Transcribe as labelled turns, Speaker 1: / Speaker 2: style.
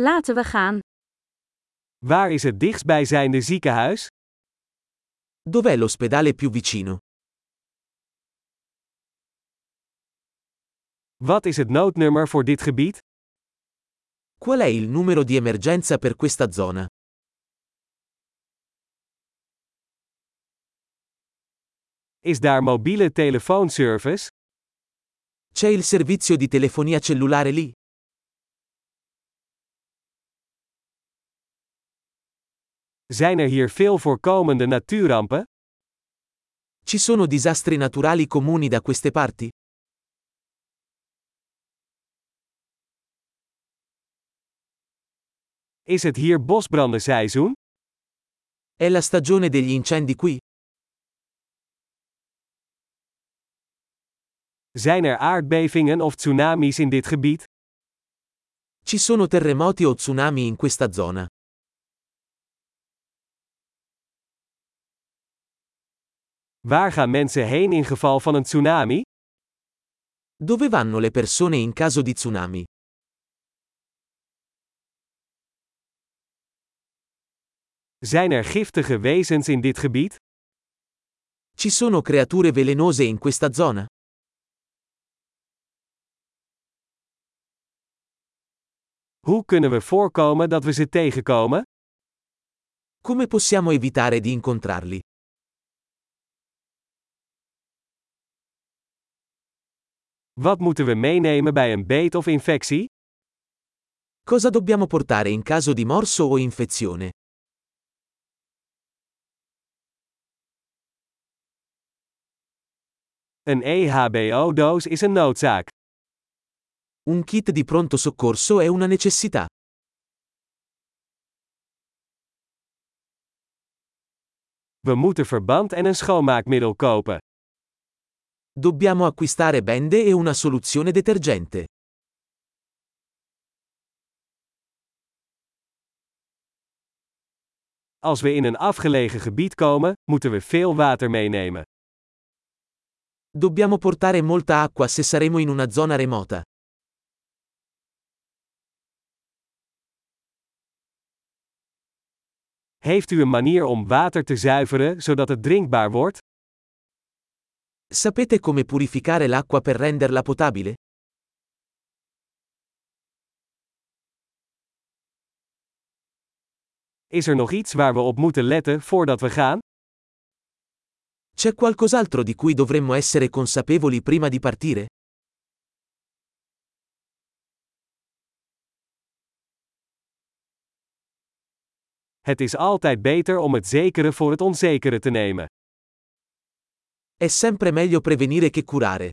Speaker 1: Laten we gaan.
Speaker 2: Waar is het dichtstbijzijnde ziekenhuis?
Speaker 3: Dov'è l'ospedale più vicino?
Speaker 2: Wat is het noodnummer voor dit gebied?
Speaker 3: Qual è il numero di emergenza per questa zona?
Speaker 2: Is daar mobiele telefoonservice?
Speaker 3: C'è il servizio di telefonia cellulare lì?
Speaker 2: Zijn er hier veel voorkomende natuurrampen?
Speaker 3: Ci sono disastri naturali comuni da queste parti?
Speaker 2: Is het hier bosbrandenseizoen?
Speaker 3: È la stagione degli incendi qui?
Speaker 2: Zijn er aardbevingen of tsunamis in dit gebied?
Speaker 3: Ci sono terremoti o tsunami in questa zona?
Speaker 2: Waar gaan mensen heen in geval van een tsunami?
Speaker 3: Dove vanno le persone in caso di tsunami?
Speaker 2: Zijn er giftige wezens in dit gebied?
Speaker 3: Ci sono creature velenose in questa zona?
Speaker 2: Hoe kunnen we voorkomen dat we ze tegenkomen?
Speaker 3: Come possiamo evitare di incontrarli?
Speaker 2: Wat moeten we meenemen bij een beet of infectie?
Speaker 3: Cosa dobbiamo portare in caso di morso o infezione?
Speaker 2: Een E EHBO-doos is een noodzaak.
Speaker 3: Un kit di pronto soccorso è una necessità.
Speaker 2: We moeten verband en een schoonmaakmiddel kopen.
Speaker 3: Dobbiamo acquistare bende e una soluzione detergente.
Speaker 2: Als we in een afgelegen gebied komen, moeten we veel water meenemen.
Speaker 3: Dobbiamo portare molta acqua se saremo in una zona remota.
Speaker 2: Heeft u een manier om water te zuiveren zodat het drinkbaar wordt?
Speaker 3: Sapete come purificare l'acqua per renderla potabile?
Speaker 2: Is er nog iets waar we op moeten letten voordat we gaan?
Speaker 3: C'è qualcos'altro di cui dovremmo essere consapevoli prima di partire?
Speaker 2: Het is altijd beter om het zekere voor het onzekere te nemen.
Speaker 3: È sempre meglio prevenire che curare.